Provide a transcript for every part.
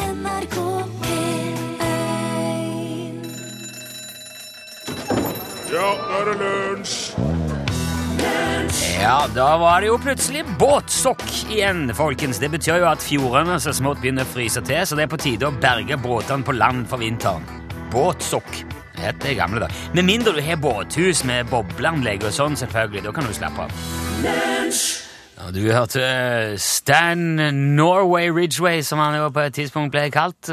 NRK P1 Ja, nå er det lunsj! Ja, da var det jo plutselig båtsokk igjen, folkens. Det betyr jo at fjordene så smått begynner å fryse til, så det er på tide å berge båtene på land for vinteren. Båtsokk det het det i gamle dager. Med mindre du har båthus med bobleanlegg og sånn, selvfølgelig. Da kan du slappe av. Ja, du hørte eh, Stan Norway Ridgway, som han jo på et tidspunkt ble kalt.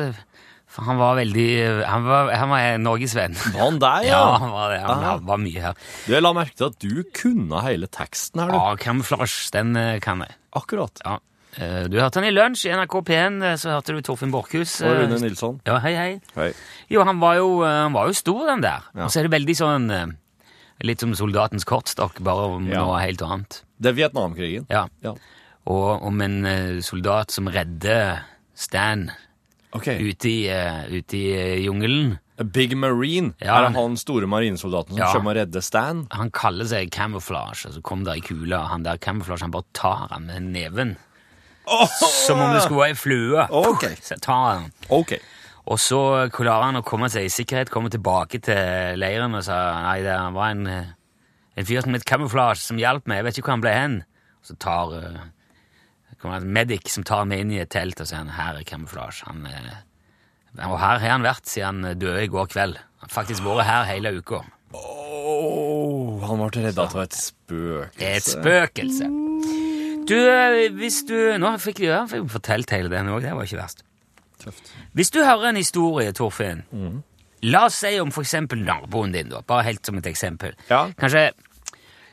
For han var veldig eh, Han var, han var norgesvenn. Han der, ja. Ja, han var det. Han, han var mye her. Du, jeg la merke til at du kunne hele teksten her, du. Ja, Camouflage, den eh, kan jeg. Akkurat. Ja. Eh, Du hørte han i lunsj i NRK P1, eh, så hørte du Torfinn Borchhus. Og eh, Rune Nilsson. Ja, hei, hei. Hei. Jo, han var jo, eh, han var jo stor, den der. Ja. Og så er det veldig sånn eh, Litt som soldatens kortstokk, bare om Ja. noe helt annet. Det er Vietnamkrigen. Ja. Ja. Og om en eh, soldat som redder Stan Ok. ute i, eh, ute i eh, jungelen. A Big Marine. Ja. Er det han store marinesoldaten som Ja. kommer og redder Stan? Han kaller seg Camouflage, og så kom der i kula, og han der Camouflage han bare tar han med neven. Som om det skulle være ei flue. Ok. Så tar han. Ok. Og så klarer han å komme seg i sikkerhet, komme tilbake til leiren og sa nei, det var en, eh, en fyr som het Camouflage som hjalp meg, jeg vet ikke hvor han ble hen. Og så tar eh, kommer det en medic som tar meg inn i et telt og sier han, her er Camouflage. Han, eh, og her har han vært siden han døde i går kveld. Han har faktisk vært her hele uka. Åh, han ble redda av et spøk. Et spøkelse. Mm. Du, eh, hvis du Nå fikk vi ja, fikk vi fortalt hele den òg, det var ikke verst. Tøft. Mm. Hvis du hører en historie, Torfinn La oss si om for eksempel naboen din, da. Bare helt som et eksempel. Ja. Kanskje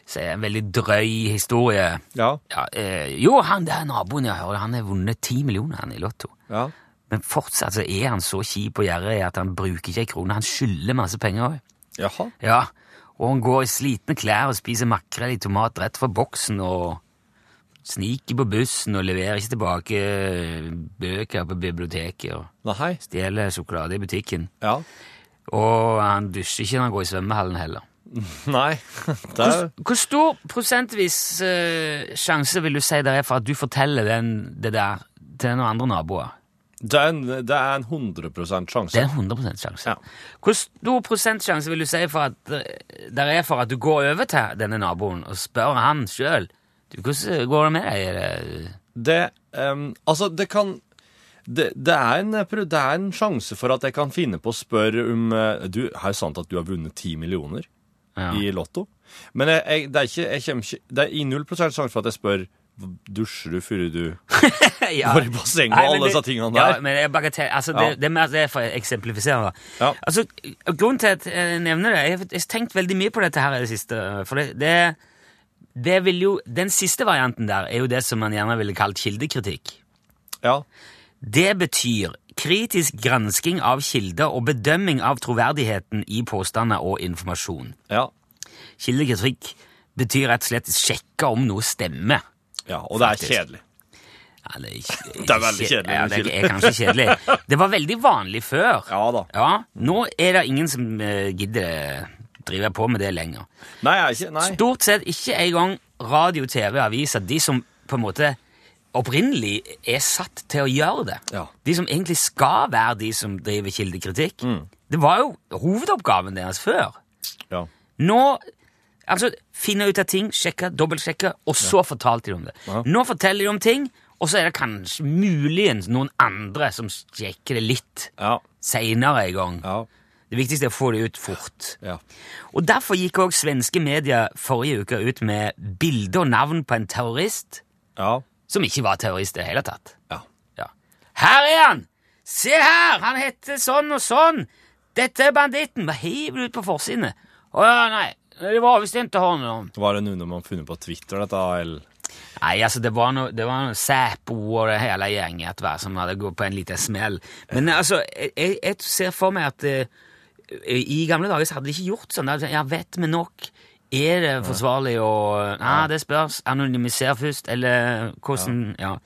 si en veldig drøy historie. Ja. Ja, eh, jo, han der naboen jeg hører, han har vunnet ti millioner han, i Lotto. ja. Men fortsatt så er han så kjip og gjerrig at han bruker ikke ei krone. Han skylder masse penger òg. Jaha. Ja, og han går i slitne klær og spiser makrell i tomat rett fra boksen og sniker på bussen og leverer ikke tilbake eh, bøker på biblioteket og Nei. stjeler sjokolade i butikken. Ja. Og han dusjer ikke når han går i svømmehallen heller. Nei. Det er Hvor stor prosentvis eh, sjanse vil du si det er for at du forteller den, det der til noen andre naboer? det er en, det er en 100 Det sjanse. er en 100 sjanse. Ja. Hvor stor prosentsjanse vil du si for at eh, der er for at du går over til denne naboen og spør han sjøl? Hvordan går det med deg? Er det- Det ehm, Altså, det kan det, det, er en, eh, pro- det er en sjanse for at jeg kan finne på å spørre om eh, Du, er det sant at du har vunnet ti millioner Ja. i Lotto? Men jeg, jeg, det er ikke, jeg kommer ikke Det er i null prosent sjanse for at jeg spør Dusjer du før du ja. går i bassenget Nei, men og alle det- disse tingene Ja, der? men jeg bagatell, altså, det, Ja. det er mer det for å eksemplifisere. Ja. Altså, grunnen til at jeg nevner det, jeg har- jeg har tenkt veldig mye på dette her i det siste. For det, det, det vil jo, den siste varianten der er jo det som man gjerne ville kalt kildekritikk. Ja. Det betyr kritisk gransking av kilder og bedømming av troverdigheten i påstander og informasjon. ja. Kildekritikk betyr rett og slett sjekke om noe stemmer. Ja, og det er Faktisk. kjedelig. Ja, det, er ikke, Det er veldig kjedelig, Ja, det er kanskje kjedelig. Det var veldig vanlig før. Ja da. Ja, nå er det ingen som eh, gidder drive på med det lenger. Nei, jeg er ikke Nei. Stort sett ikke engang radio, TV, aviser, de som på en måte opprinnelig er satt til å gjøre det. Ja. De som egentlig skal være de som driver kildekritikk. Mm. Det var jo hovedoppgaven deres før. Ja. Nå altså, finne ut av ting, sjekke, dobbeltsjekke, og så fortalte de om det. Nå forteller de om ting, og så er det kanskje muligens noen andre som sjekker det litt Ja. seinere en gang. Ja. Det viktigste er å få det ut fort. ja. Og Derfor gikk òg svenske medier forrige uke ut med bilde og navn på en terrorist ja. som ikke var terrorist i det hele tatt. ja. Ja. Her er han! Se her! Han heter sånn og sånn! Dette er banditten! Hva hiver du ut på forsidene? Å ja, nei. Det var visst ikke han. om. Var det noe man har funnet på Twitter, dette, eller Nei, altså, det var noe, det var noe Sæpo og det hele gjenget hver som hadde gått på en liten smell. Men altså, jeg, jeg- jeg ser for meg at eh, i gamle dager så hadde de ikke gjort sånn. Da hadde de sagt, Ja, vet vi nok? Er ah, det forsvarlig å Nei, det spørs. Anonymiser først, eller hvordan Ja.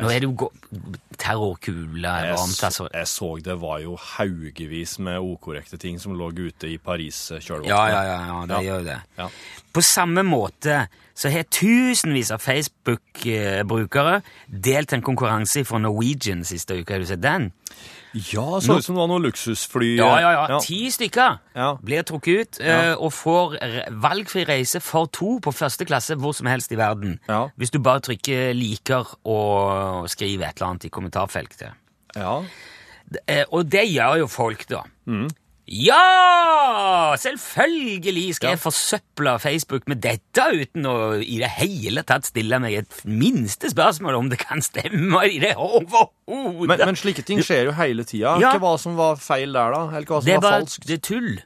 Nå er det jo gå- terrorkule Jeg, varmt, så, altså. jeg så det var jo haugevis med ukorrekte ting som lå ute i Paris-kjølvannet. Ja, ja, ja, ja det gjør jo det. Ja. På samme måte så har tusenvis av Facebook-brukere delt en konkurranse fra Norwegian siste uke. Har du sett den? Ja, så ut som det var noe luksusfly. Ja, ja, ja. Ti stykker Ja. blir trukket ut eh, og får re- valgfri reise for to på første klasse hvor som helst i verden. Ja. Hvis du bare trykker 'liker' og skriver et eller annet i kommentarfeltet. Ja. Eh, og det gjør jo folk, da. Mm. Ja! Selvfølgelig skal Ja. jeg forsøple Facebook med dette uten å i det hele tatt stille meg et minste spørsmål om det kan stemme i det Men, overhodet. men slike ting skjer jo hele tida. Ja. Ikke hva som var feil der, da. Eller hva som Det er var bare falskt. det er tull.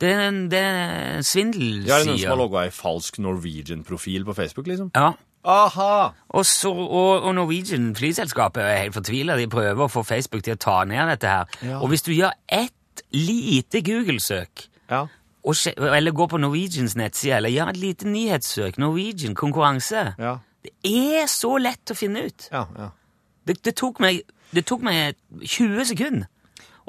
Det er, en- det er svindel, Ja, er det noen som har sier logga ei falsk Norwegian-profil på Facebook, liksom? ja. Aha! Og, så, og, og Norwegian flyselskapet er helt fortvila. De prøver å få Facebook til å ta ned dette her. Ja. Og hvis du gjør ett lite Google-søk Ja. og, sje- eller gå på Norwegians nettside, eller gjør et lite nyhetssøk. Norwegian konkurranse. Ja. Det er så lett å finne ut. Ja. ja. Det, det, tok meg, det tok meg 20 sekunder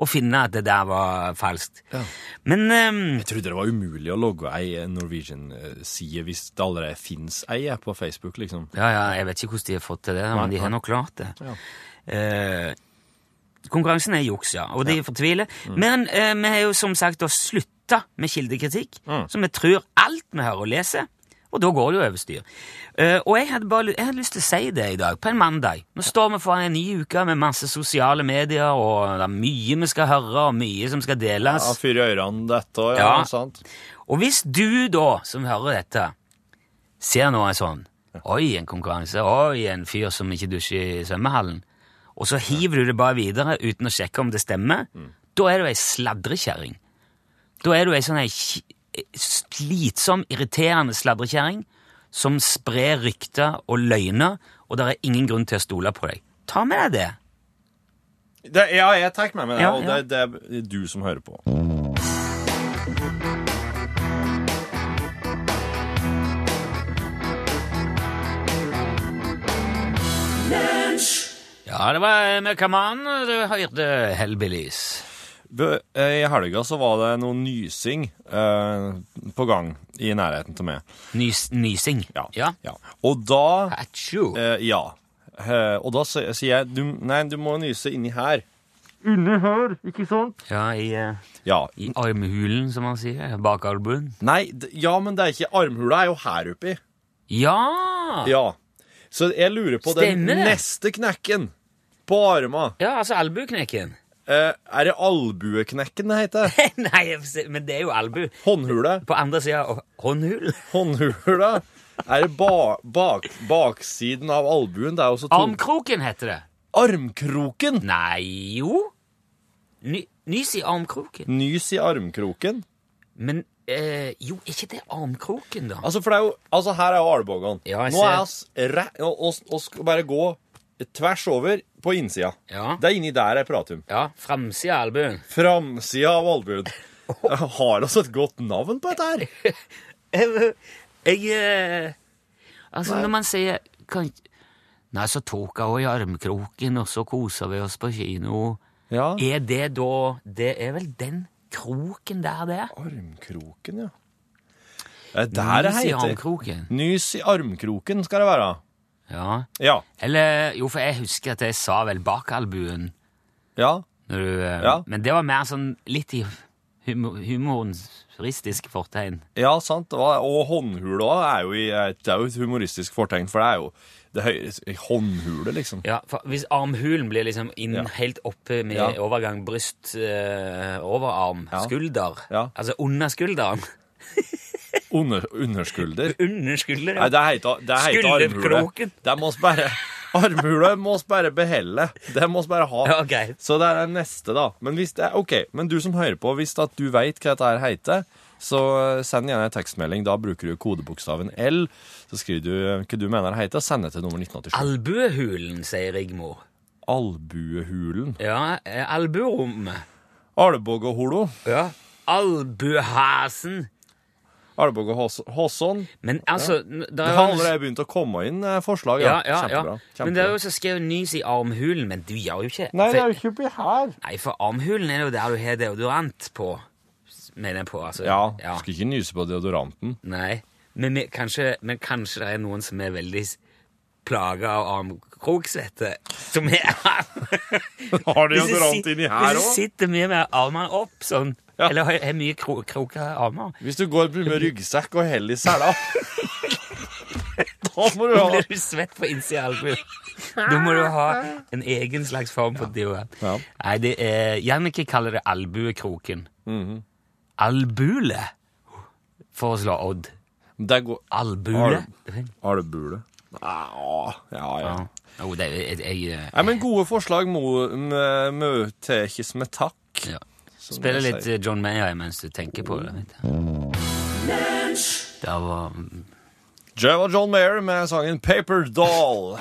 å finne at det der var falskt. Ja. Men ehm, Jeg trodde det var umulig å logge ei Norwegian-side hvis det allerede fins ei eh, på Facebook, liksom. ja, ja, jeg vet ikke hvordan de har fått til det, Nei, men de har nei. nok klart det. Ja. Eh, konkurransen er juks, ja, og de fortviler. Mm. Men eh, vi har jo som sagt slutta med kildekritikk, Mm. så vi tror alt vi hører og leser, og da går det jo over styr. Eh, og jeg hadde, bare, ly- jeg hadde lyst til å si det i dag, på en mandag. Nå står vi foran en ny uke med masse sosiale medier, og det er mye vi skal høre, og mye som skal deles. Ja, Fyr i ørene dette og ja, Ja. sant? Og hvis du da, som hører dette, ser noe sånn Oi, en konkurranse. Oi, en fyr som ikke dusjer i svømmehallen. Og så hiver du det bare videre uten å sjekke om det stemmer. Da er du ei sladrekjerring. Da er du ei sånn ei ki- slitsom, irriterende sladrekjerring som sprer rykter og løgner, og det er ingen grunn til å stole på deg. Ta med deg det. Det, ja, jeg tar med meg det, Ja, og det, det er du som hører på. Ja, det var eh, Møkkamann du hørte Hellbillies. Bø- eh, I helga så var det noe nysing eh, på gang i nærheten til meg. Nys nysing. Ja. ja. Ja. Og da Atsjo. eh, Ja. Eh, og da sier sier jeg du, Nei, du må nyse inni her. Ja, i, eh, Ja. i armhulen, som man sier. Bak albuen. Nei, d ja, men det er ikke Armhula er jo her oppi. Ja! ja! Ja. Så jeg lurer på den Stemmer det. neste knekken på arma. altså albueknekken. Eh, er det albueknekken det heter? Nei, jeg får se- men det er jo albu. Håndhule? På andre sida av håndhulen. Håndhula? Er det ba bak baksiden av albuen? Det er jo så tung. Armkroken heter det. Armkroken! Nei, jo. Ny, nys i armkroken. Nys i armkroken. Men eh, jo, er ikke det armkroken, da? Altså, for det er jo, altså her er jo armbågene. Ja, jeg Nå er ser. oss re... og- oss- oss skal bare gå tvers over på innsida. Ja. Det er inni der jeg prater om. Ja, Framsida av albuen. Framsida av albuen. Har oss et godt navn på dette her? Jeg, eh, Altså, når man sier kan, Nei, så tok jeg henne i armkroken, og så kosa vi oss på kino. Ja. Er det da Det er vel den kroken der, det? Armkroken, ja. Det er der det Nys i heter. armkroken. Nys i armkroken skal det være. Ja. Ja. Eller Jo, for jeg husker at jeg sa vel bakalbuen. Ja. Når du, eh, Ja. Men det var mer sånn litt i humo- humorens humoristiske fortegn. Ja, sant. det var- Og håndhule også er jo, i, det er jo et humoristisk fortegn, for det er jo det høyre Håndhule, liksom. Ja, for Hvis armhulen blir liksom inn Ja. helt oppe med Ja. overgang, bryst, eh, overarm, Ja. skulder Ja. Altså under skulderen. Under, underskulder. under skulderen. Nei, det heter, det heter armhule. Skulderkroken. Det mås bare, armhule mås bare behelle. Det mås bare ha. Ja, greit. Så det er den neste, da. Men, hvis det, er- ok, men du som hører på, hvis at du veit hva dette her heter, så eh, send gjerne en tekstmelding. Da bruker du kodebokstaven L. Så skriver du hva du mener det heter, og send det til nummer 1987. Albuehulen, sier Rigmor. Albuehulen. Ja, eh, albuerommet. Alboggeholo. Ja. Albuhasen. Alvbåge Hås- Håsson. Men altså der Det er har jo- allerede begynt å komme inn eh, forslag. ja, Ja, ja, ja. Kjempebra. Men det er Kjempebra. jo så skrevet nys i armhulen, men du gjør jo ikke Nei, det er for, jo ikke oppi her. nei, for armhulen er jo der du har deodorant på, mener jeg på. Altså. Ja, du skal ikke nyse på deodoranten. Nei, men, vi, kanskje, men kanskje det er noen som er veldig s- plaga av armkroksvette. Som er Har Hvis du sit- Hvis du sitter mye med armene opp sånn, Ja. eller har, har mye kro kroka armer, Hvis du går med ryggsekk og heller i sela Da må du da ha blir du svett på innsida av albuen. Da må du ha en egen slags form for deodorant. Ja. Nei, det er Jannicke kaller det albuekroken. Mhm. Albule, foreslår Odd. Der går Albule? Albule. Ja, ja. ja. Ja. Jo, det er jeg, eh, jeg Nei, men gode forslag må mø- møtekes med takk. Ja. som Spille jeg litt sier. eh, John Mayer mens du tenker på det. Vet du. Det var Java John Mayer med sangen Paper Doll.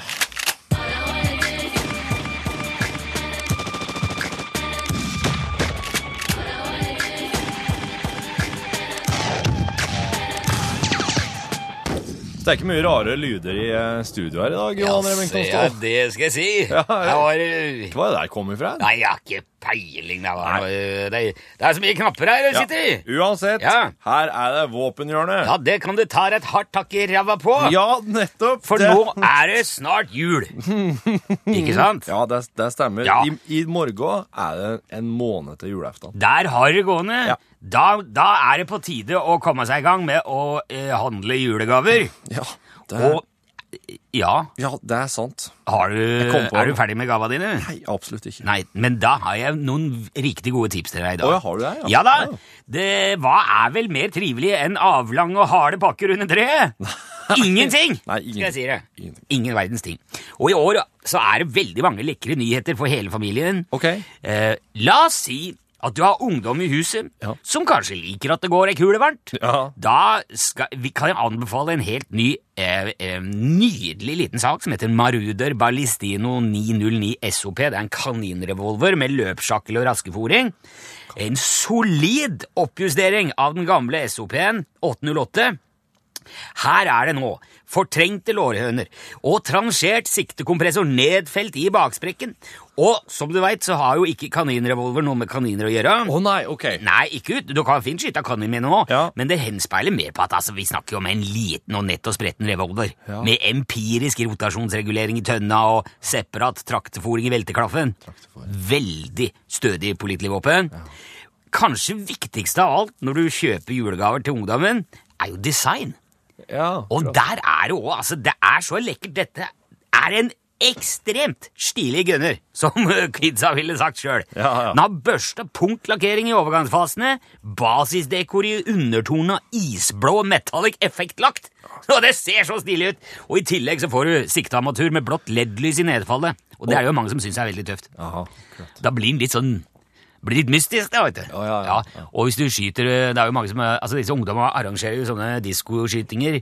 Det er ikke mye rare lyder i eh, studio her i dag. Johan Remington se, Ståhl. det skal jeg si! Ja, ja. Her var det- Hva er det der kommer fra? Nei, jeg har ikke peiling. Det, var, det, det er så mye knapper her jeg Ja, sitter i! Uansett, Ja. her er det våpenhjørnet. Ja, det kan du ta deg et hardt tak i ræva på! Ja, nettopp! For det. nå er det snart jul! Ikke sant? Ja, det, det stemmer. Ja. I, I morgen er det en måned til julaften. Der har det gående. Ja. Da, da er det på tide å komme seg i gang med å eh, handle julegaver. Ja, det, Og ja, ja, det er sant. har du, kom på er det. du ferdig med gava dine? Nei, absolutt ikke. Nei, men da har jeg noen riktig gode tips til deg i dag. Å, ja, har du det? Ja, da! Det, hva er vel mer trivelig enn avlange og harde pakker under treet? Ingenting! Nei, Skal jeg si det. Ingenting. Ingen verdens ting. Og i år så er det veldig mange lekre nyheter for hele familien. Ok. Eh, la oss si at du har ungdom i huset Ja. som kanskje liker at det går ei kule varmt. Ja. Da skal, vi kan jeg anbefale en helt ny, eh, eh, nydelig liten sak som heter Maruder Ballistino 909 SOP. Det er en kaninrevolver med løpsjakkel og raskefòring. En solid oppjustering av den gamle SOP-en 808. Her er det nå fortrengte lårhøner og transjert siktekompressor nedfelt i baksprekken. Og som du veit, så har jo ikke kaninrevolver noe med kaniner å gjøre. Å nei, ok. Nei, ikke ut. Du kan fint skyte av kanin med nå, Ja. men det henspeiler mer på at altså, vi snakker om en liten og nett og spretten revolver. Ja. Med empirisk rotasjonsregulering i tønna og separat traktefòring i velteklaffen. Veldig stødig pålitelig våpen. Kanskje viktigst av alt når du kjøper julegaver til ungdommen, er jo design. Ja. Og der er det òg, altså. Det er så lekkert. Dette er en ekstremt stilig gunner, som kidsa ville sagt sjøl. Ja, ja. Den har børsta punktlakkering i overgangsfasene, basisdekor i undertonen og isblå metallic effektlagt. Og det ser så stilig ut! Og i tillegg så får du siktearmatur med blått LED-lys i nedfallet. Og det er det jo mange som syns er veldig tøft. Aha. Da blir den litt sånn blir litt mystisk, da, vet du. Ja, ja, ja. Og hvis du skyter Det er jo mange som Altså, disse ungdommene arrangerer jo sånne diskoskytinger.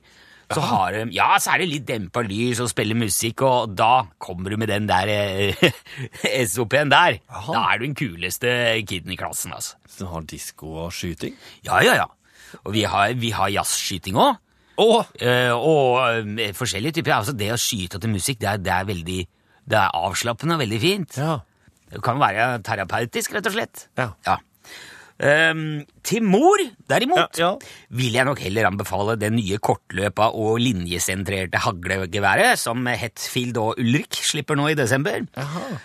Så har de Ja, så er det litt dempa lys og spiller musikk, og da kommer du med den der eh, SOP-en der. Jaha. Da er du den kuleste kiden i klassen, altså. Så Den har disko og skyting. Ja, ja, ja. Og vi har, vi har jazzskyting òg. Å! Eh, og eh, forskjellige typer. Altså, det å skyte til musikk, det er, det er veldig Det er avslappende og veldig fint. Ja. Det kan være terapeutisk, rett og slett. Ja. Ehm, til mor, derimot, Ja, ja. vil jeg nok heller anbefale det nye kortløpa og linjesentrerte haglegeværet som Hetfield og Ulrik slipper nå i desember.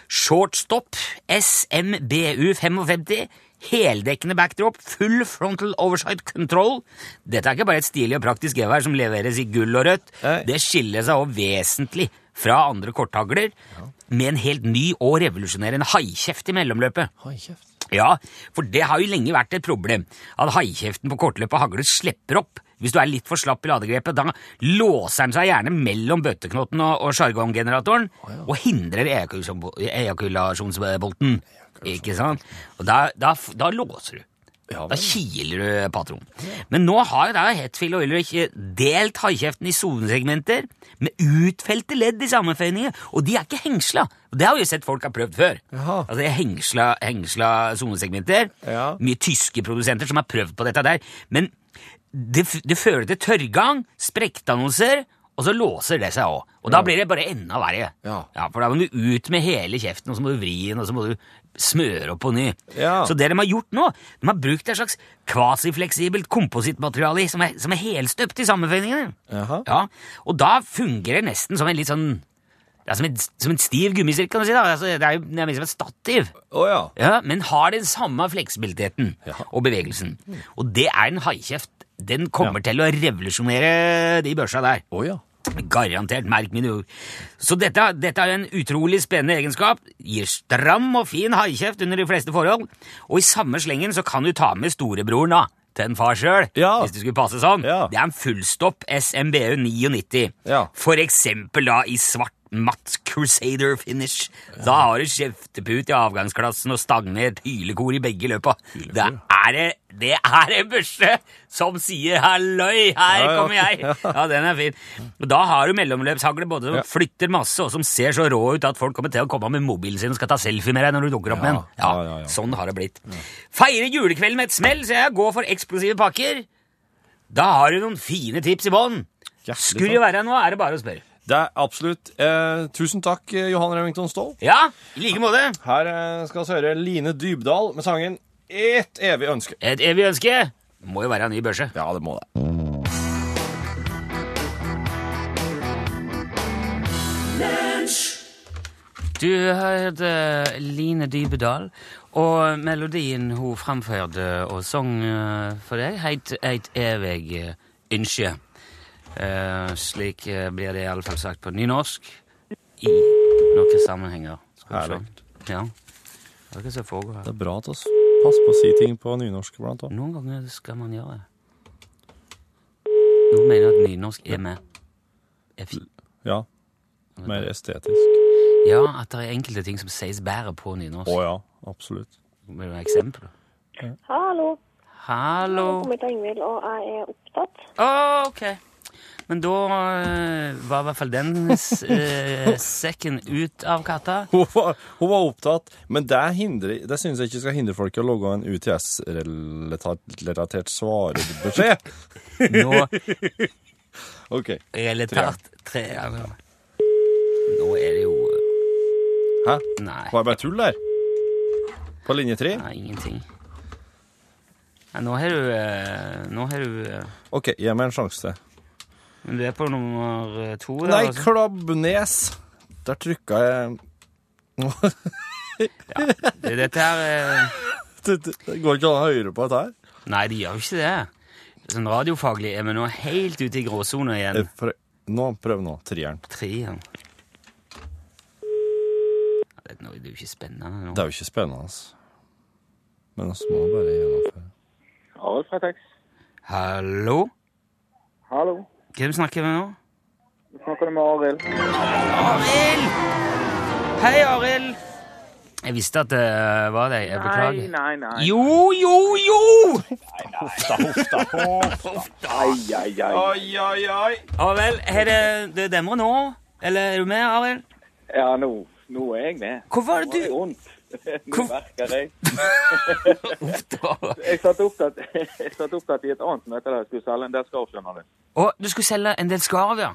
Shortstop SMBU 55. Heldekkende backdrop, full frontal oversight control. Dette er ikke bare et stilig og praktisk gevær som leveres i gull og rødt. Nei. Det skiller seg også vesentlig fra andre korthagler, med en helt ny og revolusjonerende haikjeft i mellomløpet. Oi, kjeft. Ja, for det har jo lenge vært et problem at haikjeften på kortløpet hagler slipper opp. Hvis du er litt for slapp i ladegrepet, da låser den seg gjerne mellom bøtteknotten og, og sjargonggeneratoren og hindrer ejakulasjon- ejakulasjonsbolten. Ikke sant? Og da, da, f- da låser du. Ja, Da vel. kiler du patronen. Men nå har jo da Hetfield og Ulrich eh, delt haikjeften i sonesegmenter med utfelte ledd i sammenføyninger, og de er ikke hengsla. Og Det har vi jo sett folk har prøvd før. Jaha. Altså det er hengsla, hengsla sonesegmenter. Ja. Mye tyske produsenter som har prøvd på dette der. Men det, f- det fører til tørrgang, sprekkdannelser, og så låser det seg òg. Og da blir det bare enda verre. Ja. For da må du ut med hele kjeften, og så må du vri den, og så må du smøre opp på ny. Ja. Så det de har gjort nå, de har brukt et slags kvasifleksibelt komposittmateriale i, som er, som er helstøpt i sammenføyningene. Jaha. Ja, og da fungerer det nesten som en litt sånn det er som en, som en stiv gummisirkel, kan du si. da. Altså, det er jo nærmest som et stativ. Å ja. Ja, men har den samme fleksibiliteten Ja. Mm. og bevegelsen. Og det er en haikjeft. Den kommer til å revolusjonere de børsa der. Å ja. Garantert, merk mine ord. Så dette, dette er jo en utrolig spennende egenskap. Gir stram og fin haikjeft under de fleste forhold. Og i samme slengen så kan du ta med storebroren da, til en far sjøl, Ja. hvis det skulle passe sånn. Ja. Det er en fullstopp SMBU 99. Ja. For eksempel da i svart matt Crusader finish. Da har du kjefteput i avgangsklassen og stagnert hylekor i begge løpa. Det er, det- det er en børse som sier 'halløy, her Ja, ja. kommer jeg'. Ja, den er fin. Og da har du mellomløpshagle både som Ja. flytter masse, og som ser så rå ut at folk kommer til å komme med mobilen sin og skal ta selfie med deg når du dukker opp Ja, med den. Ja, ja, ja, ja. Sånn har det blitt. Feire julekvelden med et smell, så jeg går for eksplosive pakker. Da har du noen fine tips i bånn. Hjertelig Skulle takk. være her nå, er det bare å spørre. Det er absolutt. Eh, tusen takk, eh, Johan Remington Ståhl. Ja, i like måte. Her eh, skal vi høre Line Dybdahl med sangen Et evig ønske. Et evig ønske må jo være en ny børse. Ja, det må det. Du hørte Line Dybedal, og melodien hun framførte og sang eh, for deg, het Eit evig eh, ønske. Eh, slik eh, blir det i alle fall sagt på nynorsk i noen sammenhenger. Skal Herlig. vi se. Ja. Det er ikke så foregår her. Det er bra at vi passer på å si ting på nynorsk blant annet. Noen ganger skal man gjøre det. Nå mener jeg at nynorsk er med. Er fi- Ja. Mer estetisk. Ja, at det er enkelte ting som sies bedre på nynorsk. Å ja, absolutt. Vil du ha eksempler? Hallo. Hallo. Jeg heter Ingvild, og jeg er opptatt. Å, Ah, ok. Men da eh, var i hvert fall den eh, sekken ut av katta. Hun var, hun var opptatt, men det, hindrer, det synes jeg ikke skal hindre folk i å logge en UTS-relatert svarebeskjed. Nå OK. relatert tre ja, men- Nå er det jo eh, Hæ? Nei. Var det bare tull der? På linje tre? nei ingenting. Nei, nå har du eh, Nå har du eh, OK, gi meg en sjanse til. Men du er på nummer eh, to? da, Nei, altså. Klabbnes. Der trykka jeg Det- Dette her eh, Det, det, det går ikke an å høre på dette her. Nei, de gjør jo ikke det. Sånn radiofaglig er vi nå helt ute i gråsona igjen. Eh, prøv- Nå, Prøv nå. Trieren. Tre igjen. Ja, Det er noe- det er jo ikke spennende nå. Det er jo ikke spennende, altså. Men vi må bare gjennomføre. Hallo, Fretex. Hallo? Hallo. Hvem snakker vi med nå? Vi snakker med Arild. Arild! Hei, Arild! Jeg visste at det var deg. Jeg beklager. Nei, nei, nei. Jo, jo, jo! Ai, ai, ai. Oi, oi, oi! Å vel, er det, det demrer nå? Eller er du med, Arild? Ja, nå, nå er jeg med. Hvor var det Nå er jeg du vondt. Nå Hvor- merker jeg. Uff da. Jeg satt opptatt, jeg satt opptatt i et annet møte der jeg skulle selge en del skarv, skjønner du. Å, du skulle selge en del skarv, ja?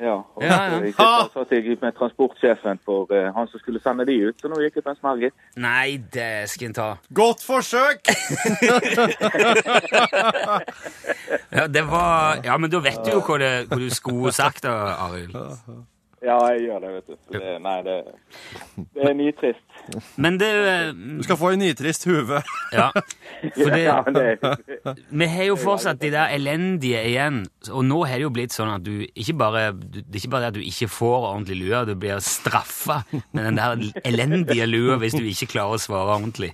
Ja, og Ja, ja. så gikk jeg- så satt jeg ut med transportsjefen for eh, han som skulle sende de ut, så nå gikk jeg på en smell, gitt. Nei, det skal en ta. Godt forsøk! Ja, det var, ja, men da vet du jo hva, det, hva du skulle sagt, da, Arild. Ja, jeg gjør det, vet du. Så Det, nei, det, det er nytrist. Men det eh, Du skal få en nitrist hue. Ja. For det, Ja, det, vi har jo fortsatt de der elendige igjen. Og nå har det jo blitt sånn at du ikke bare du- Det er ikke bare det at du ikke får ordentlig lue, du blir straffa med den der elendige lua hvis du ikke klarer å svare ordentlig.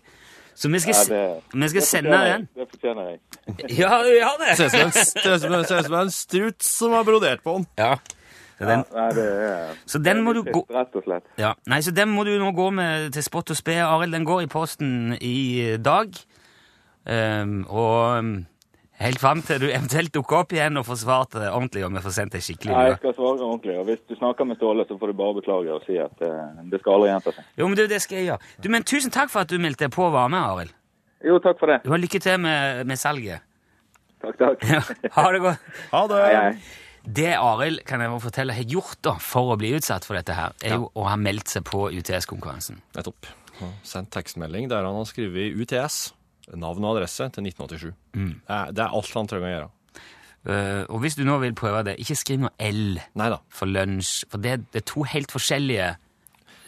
Så vi skal, ja, s- det, vi skal det sende fortjener jeg. den. Det fortjener jeg. Ja, du gjør Ser ut det! som en- ser ut som en- ser ut som en struts som har brodert på den. Ja. Så den, Nei, det er... så den må du gå nytrist, Rett og slett. Ja, nei, så den må du nå gå med til spott og spe, Arild. Den går i posten i dag. Ehm, og ehm, helt fram til du eventuelt dukker opp igjen og får svart det ordentlig, og vi får sendt deg skikkelig Nei, jeg lue. skal svare ordentlig. Og hvis du snakker med Ståle, så får du bare beklage og si at eh, det skal aldri gjenta seg. Jo, men du, det skal jeg gjøre. Du, men tusen takk for at du meldte deg på å være med, Arild. Jo, takk for det. Du har lykke til med, med salget. Takk, takk. Ja, ha det godt. Ha det! Hei, hei. Det Arild kan jeg bare fortelle har gjort da, for å bli utsatt for dette, her, er jo å ha meldt seg på UTS-konkurransen. Nettopp. Han har Sendt tekstmelding der han har skrevet UTS, navn og adresse, til 1987. Det er- Det er alt han trenger å gjøre. Eh, og hvis du nå vil prøve det, ikke skriv noe L Nei da. for lunsj, for det, det er to helt forskjellige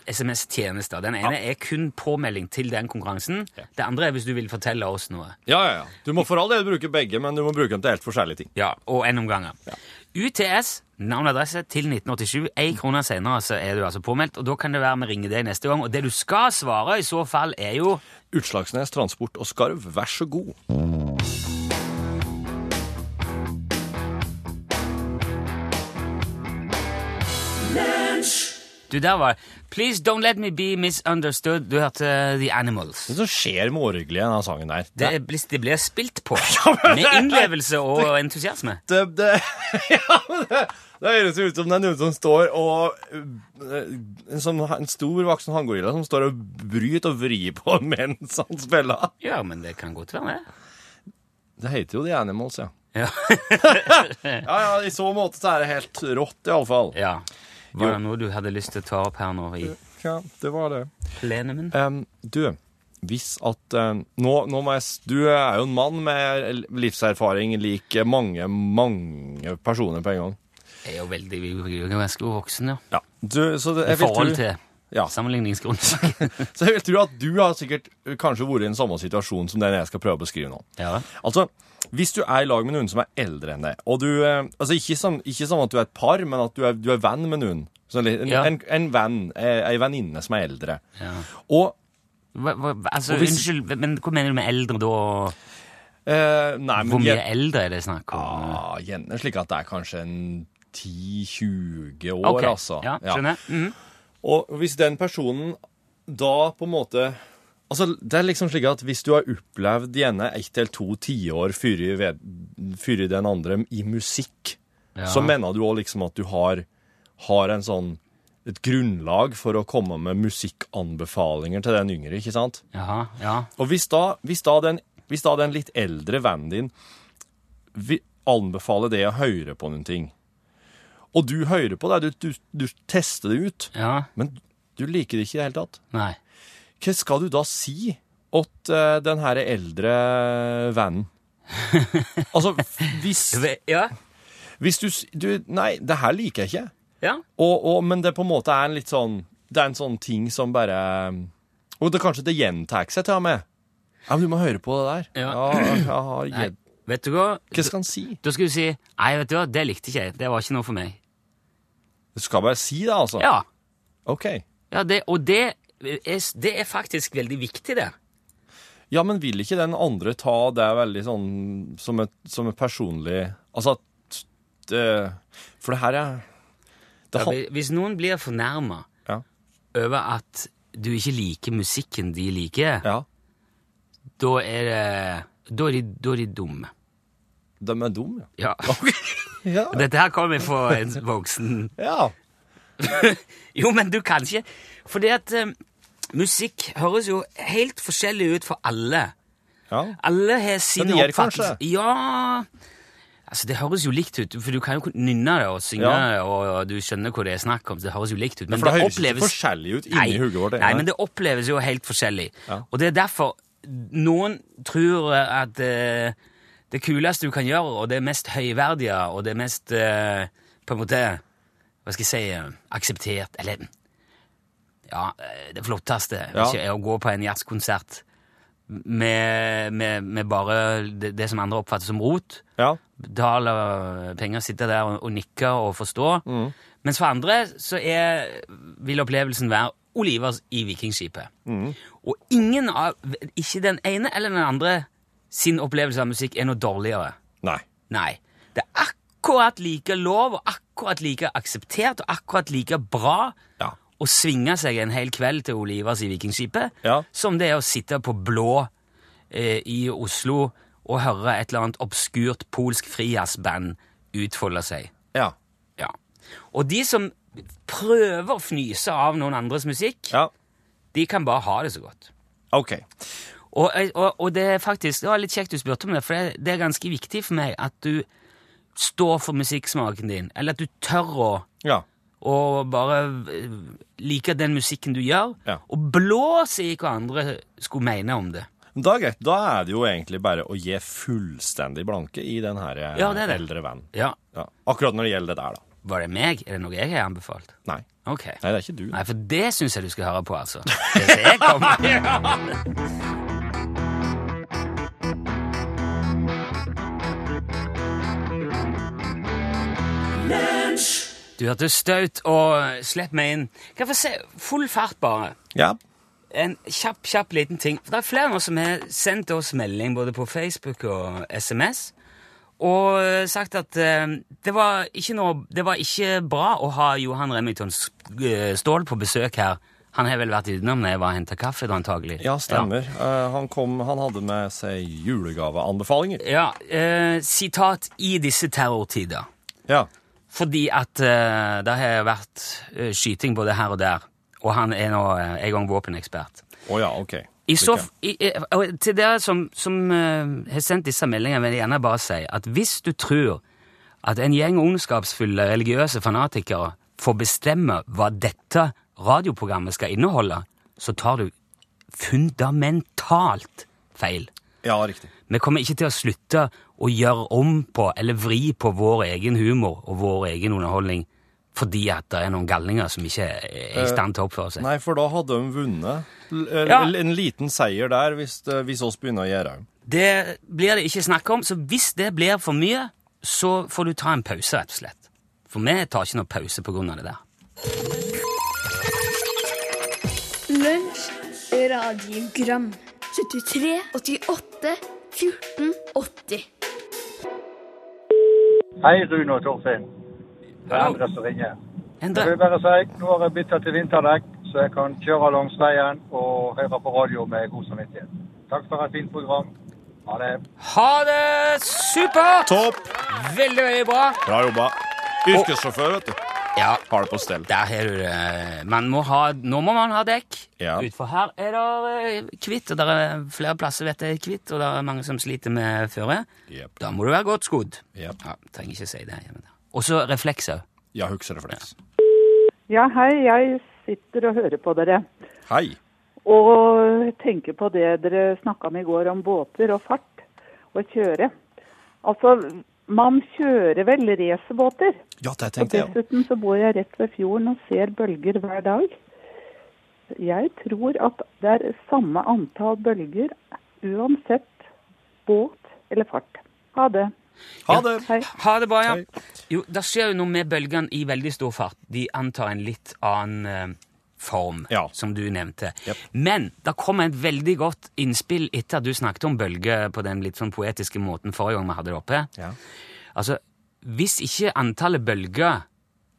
SMS-tjenester. Den ene er kun påmelding til den konkurransen. Det andre er hvis du vil fortelle oss noe. Ja, ja, ja. Du må for all del bruke begge, men du må bruke dem til helt forskjellige ting. Ja, og en omganger. UTS, navn og adresse, til 1987. Én krone senere så er du altså påmeldt, og da kan det være vi ringer deg neste gang. Og det du skal svare i så fall, er jo Utslagsnes, Transport og Skarv, vær så god. Du, der var det. Please don't let me be misunderstood. Du hørte uh, The Animals. Det som skjer med orgelet i denne sangen der Det, er- det blir spilt på med innlevelse og entusiasme. det, det, ja, men det, det høres jo ut som det er noen som står og eh, En, sånn, en stor voksen hanngorilla som står og bryter og vrir på mens han spiller. Ja, men det kan godt være det. Det heter jo The Animals, ja. Ja. Ja, ja, I så måte så er det helt rått, iallfall. ja. Var det noe du hadde lyst til å ta opp her nå i Ja, det var det. plenumen? Em, du, hvis at em, nå, nå må jeg s- Du er jo en mann med livserfaring lik mange, mange personer på en gang. Jeg er jo veldig vi- vi er jo ganske voksen, ja. Ja. Du, så det, I jeg vil tro- forhold til Ja. sammenligningsgrunnlag. Så jeg vil tro at du har sikkert eh, kanskje vært i den samme situasjon som den jeg skal prøve å beskrive nå. Ja. Altså, hvis du er i lag med noen som er eldre enn deg, og du eh, Altså, ikke sånn, ikke sånn at du er et par, men at du er, du er venn med noen. Sånn, litt- en, Ja. en, en venn, eh, ei venninne som er eldre. Ja. Og Hva, hva, altså, Og hvis- Unnskyld, men hva mener du med eldre da? eh, Nei, men Hvor mye gjen- eldre er det snakk om? Ja, gjerne slik at det er kanskje en 10-20 år, Ok, altså. Ja, Ja. skjønner. Mhm. Og hvis den personen da på en måte Altså, det er liksom slik at hvis du har opplevd gjerne ett eller to tiår før i ved- før i den andre i musikk, så mener du òg liksom at du har, har en sånn et grunnlag for å komme med musikkanbefalinger til den yngre, ikke sant? Jaha, ja. Og hvis da, hvis da, den, hvis da den litt eldre vennen din vi- anbefaler det å høre på noen ting, og du hører på det, du, du, du tester det ut, Ja, men du liker det ikke i det hele tatt, nei. hva skal du da si åt eh, den her eldre vennen? altså, hvis, Ja, hvis du, s- du Nei, det her liker jeg ikke. ja. Og, og, men det på en måte er en litt sånn Det er en sånn ting som bare Og det kanskje det gjentar seg til og med. Ja, men du må høre på det der. Ja. ja, jeg har Nei, gjedd- vet du hva? Hva skal han si? Da skal du si, nei, vet du hva, det likte ikke jeg. Det var ikke noe for meg. Du skal bare si det, altså? Ja, Ok. ja det, og det er, det er faktisk veldig viktig det. Ja, men vil ikke den andre ta det veldig sånn som et, som et personlig Altså at det- For det her er det Ja, han- hvis- hvis noen blir fornærmet Ja. over at du ikke liker musikken de liker, Ja. da er det, da er de, da er de dumme. De er dumme, Ja. ja. Ja. Dette her kommer fra en voksen ja. Jo, men du kan ikke. Fordi at eh, musikk høres jo helt forskjellig ut for alle. ja. Alle har sin Den gjør oppfattelse. kanskje. Ja Altså, det høres jo likt ut, for du kan jo kun nynne det og synge Ja. det, og, og du skjønner hva det er snakk om, så det høres jo likt ut. Men For det høres ikke forskjellig ut inni Nei. hodet vårt. Nei, men det oppleves jo helt forskjellig. Ja. Og det er derfor noen tror at eh, det kuleste du kan gjøre, og det mest høyverdige, og det mest eh, på en måte Hva skal jeg si eh, akseptert Eller ja, eh, det flotteste Ja. ikke, er å gå på en jazzkonsert med, med, med bare det, det som andre oppfatter som rot Ja. betale eh, penger, sitte der og, og nikke og forstå. Mens for andre så er, vil opplevelsen være Olivers i Vikingskipet. Og ingen av, ikke den ene eller den andre sin opplevelse av musikk er noe dårligere. Nei. Nei. Det er akkurat like lov og akkurat like akseptert og akkurat like bra Ja. å svinge seg en hel kveld til Olivers i Vikingskipet Ja. som det er å sitte på blå eh, i Oslo og høre et eller annet obskurt polsk frijazzband utfolde seg. Ja. Ja. Og de som prøver å fnyse av noen andres musikk, ja. de kan bare ha det så godt. Ok. Og, og, og det er faktisk det var litt kjekt du spurte om det, for det, det er ganske viktig for meg at du står for musikksmaken din, eller at du tør å Ja. og bare eh, like den musikken du gjør, Ja. og blås i hva andre skulle mene om det. Men Da, er greit. da er det jo egentlig bare å gi fullstendig blanke i den her eh, Ja, det er det. eldre vennen. Ja, Ja. Akkurat når det gjelder det der, da. Var det meg? Er det noe jeg har anbefalt? Nei. Ok. Nei, det er ikke du. Nei, for det syns jeg du skal høre på, altså. Det er det jeg kommer med. Du hørte staut og slipp meg inn. Kan jeg få se full fart, bare? Ja. En kjapp, kjapp liten ting. For det er flere nå som har sendt oss melding både på Facebook og SMS og eh, sagt at eh, det, var ikke noe, det var ikke bra å ha Johan Remington S- eh, Ståhl på besøk her. Han har vel vært utenom når jeg var og henta kaffe, da, antagelig. ja, stemmer. Eh, han, kom, han hadde med seg julegaveanbefalinger. Ja, eh, sitat i disse terrortider. Ja. Fordi at eh, det har vært eh, skyting både her og der, og han er nå eh, en gang våpenekspert. Å ja, OK. I så, Lykke. i, i, og til dere som, som eh, har sendt disse meldingene, vil jeg gjerne bare si at hvis du tror at en gjeng ondskapsfulle religiøse fanatikere får bestemme hva dette radioprogrammet skal inneholde, så tar du fundamentalt feil. Ja, riktig. Vi kommer ikke til å slutte å gjøre om på eller vri på vår egen humor og vår egen underholdning fordi at det er noen galninger som ikke er i stand til å oppføre seg. Nei, for da hadde de vunnet. L eh, Ja. l- En liten seier der, hvis, det- hvis oss begynner å gjøre det. Det blir det ikke snakk om, så hvis det blir for mye, så får du ta en pause, rett og slett. For vi tar ikke noe pause på grunn av det der. Lunsj radiogram 73 88 14 80 Hei, Rune og Torfinn. Det er Hallo. Endre som ringer. Jeg Endre, vil bare si nå har jeg bytta til vinterdekk, så jeg kan kjøre langs veien og høre på radio med god samvittighet. Takk for et fint program. Ha det. ha det supert! Topp! Veldig, veldig bra. Bra jobba. Yrkessjåfør, vet du. Ja, Har det på stell. der har du det. Man må ha, nå må man ha dekk. Ja. Utfor her er det eh, kvitt, og det er flere plasser vet jeg er kvitt, og det er mange som sliter med føre. Jep. Da må du være godt skodd. Jep. Ja, trenger ikke si det. hjemme der. Og så reflekser. Ja, hukserefleks. Ja, hei. Jeg sitter og hører på dere. Hei. Og tenker på det dere snakka om i går om båter og fart og kjøre. Altså, man kjører vel racerbåter. Ja, det Og tenkte jeg òg. dessuten så bor jeg rett ved fjorden og ser bølger hver dag. Jeg tror at det er samme antall bølger uansett båt eller fart. Ha det. Ha det. Hei. Ha det bra, ja. Hei. Jo, det skjer jo noe med bølgene i veldig stor fart. De antar en litt annen eh, form, Ja. som du nevnte. Jep. Men det kom et veldig godt innspill etter at du snakket om bølger på den litt sånn poetiske måten forrige gang vi hadde det oppe. Ja. Altså, hvis ikke antallet bølger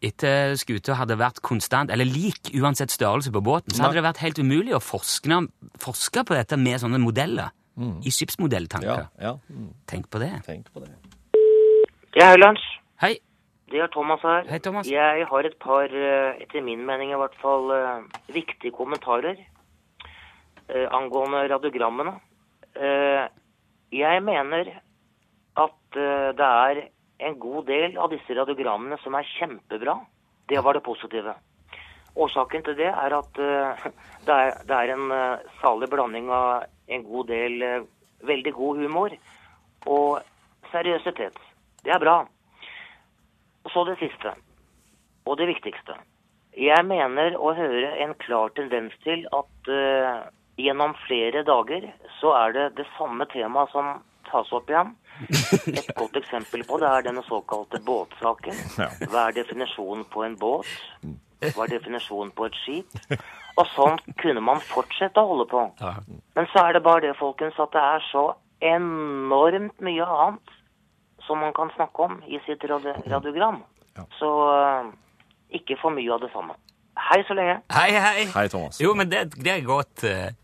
etter skuta hadde vært konstant, eller lik uansett størrelse på båten, så hadde Nei. det vært helt umulig å forske, forske på dette med sånne modeller. I Ja, skipsmodelltanker. Mm. ja. Mm, Tenk på det. Tenk på det. Ja, hei, Lunsj. Hei, Det er Thomas her. Hei, Thomas. Jeg har et par, eh, etter min mening i hvert fall, eh, viktige kommentarer eh, angående radiogrammene. Eh, Jeg mener at eh, det er en god del av disse radiogrammene som er kjempebra. Det var det positive. Årsaken til det er at eh, det er, det er en eh, salig blanding av en god del eh, veldig god humor og seriøsitet. Det er bra. Og så det siste, og det viktigste. Jeg mener å høre en klar tendens til at eh, gjennom flere dager så er det det samme temaet som tas opp igjen. Et godt eksempel på det er denne såkalte båtsaken. Hva er definisjonen på en båt? Hva er definisjonen på et skip? Og sånn kunne man fortsette å holde på. Men så er det bare det, folkens, at det er så enormt mye annet som man kan snakke om i sitt radio radiogram. Så eh, ikke for mye av det samme. Hei så lenge. hei, hei. Hei, Thomas. Jo, men det, det er godt. eh,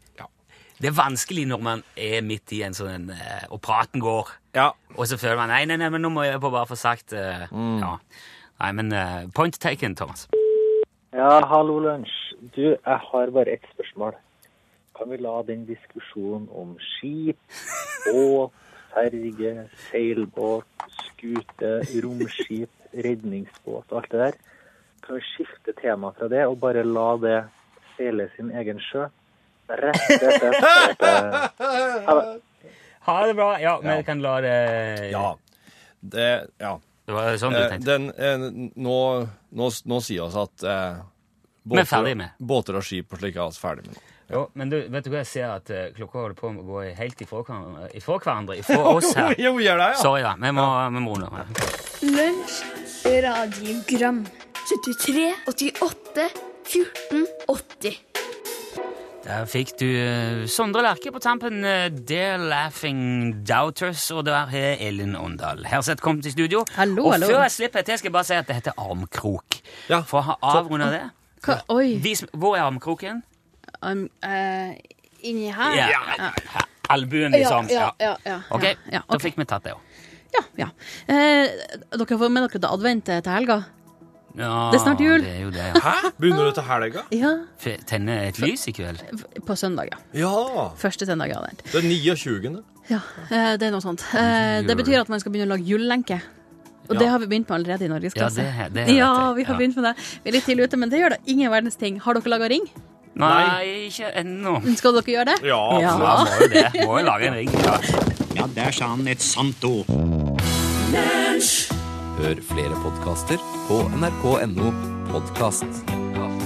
Det er vanskelig når man er midt i en sånn eh, Og praten går, Ja. og så føler man Nei, nei, nei, men nå må jeg bare få sagt eh, Mm. ja. Nei, men eh, point taken, Thomas. Ja, hallo, lunsj. Du, jeg har bare ett spørsmål. kan vi la den diskusjonen om skip, båt, ferge, seilbåt, skute, romskip, redningsbåt og alt det der, kan vi skifte tema fra det og bare la det seile sin egen sjø? Rett, rett, rett, rett, rett. Ha det. Ha det bra. Ja, vi kan la det Ja. Det, ja. Det var sånn du Eh, tenkte. Den, eh, nå, nå, nå sier oss at eh, Vi er ferdig med. båter og skip og slik er oss ferdig med. Jo, men du, vet du hva jeg ser at eh, klokka holder på å gå helt ifra hverandre, ifra, hverandre, ifra oss her. Jo, gjør det, ja. Sorry, da. Vi må, vi må runde av. Lunsj, radiogram 73, 88, 14, 80 Der fikk du eh, Sondre Lerche på tampen. eh, Dear Laughing Doubters. Og der er Elin Åndal. Herseth kom til studio. Hallo, og hallo. før jeg slipper til, skal jeg bare si at det heter armkrok. For å ha avrunda det Hva? Oi. Vis, Hvor er armkroken? Um, eh, inni her? Ja. Her, Albuen, liksom. Ja, ja, ja, ja, Ok, ja, da fikk vi tatt det òg. ja. Eh, dere får med dere til advent eh, til helga. Ja, Det er snart jul. Det er jo det, ja. Hæ? Begynner du til helga? Ja, F- Tenne et lys i kveld? På søndag, ja. Ja! Første søndag i advent. Den 29. Ja, eh, det er noe sånt. Eh, det betyr at man skal begynne å lage julelenke. Og Ja. det har vi begynt med allerede i norgesklasse. Ja, det he- det vet jeg. ja, vi har Ja. begynt med det. Vi er litt tidlig ute, men det gjør da ingen verdens ting. Har dere laga ring? Nei, ikke ennå. Skal dere gjøre det? Ja, må jo det. Må jo lage en ring. Ja. Ja, der sa han et sant ord. Hør flere podkaster på nrk.no podkast.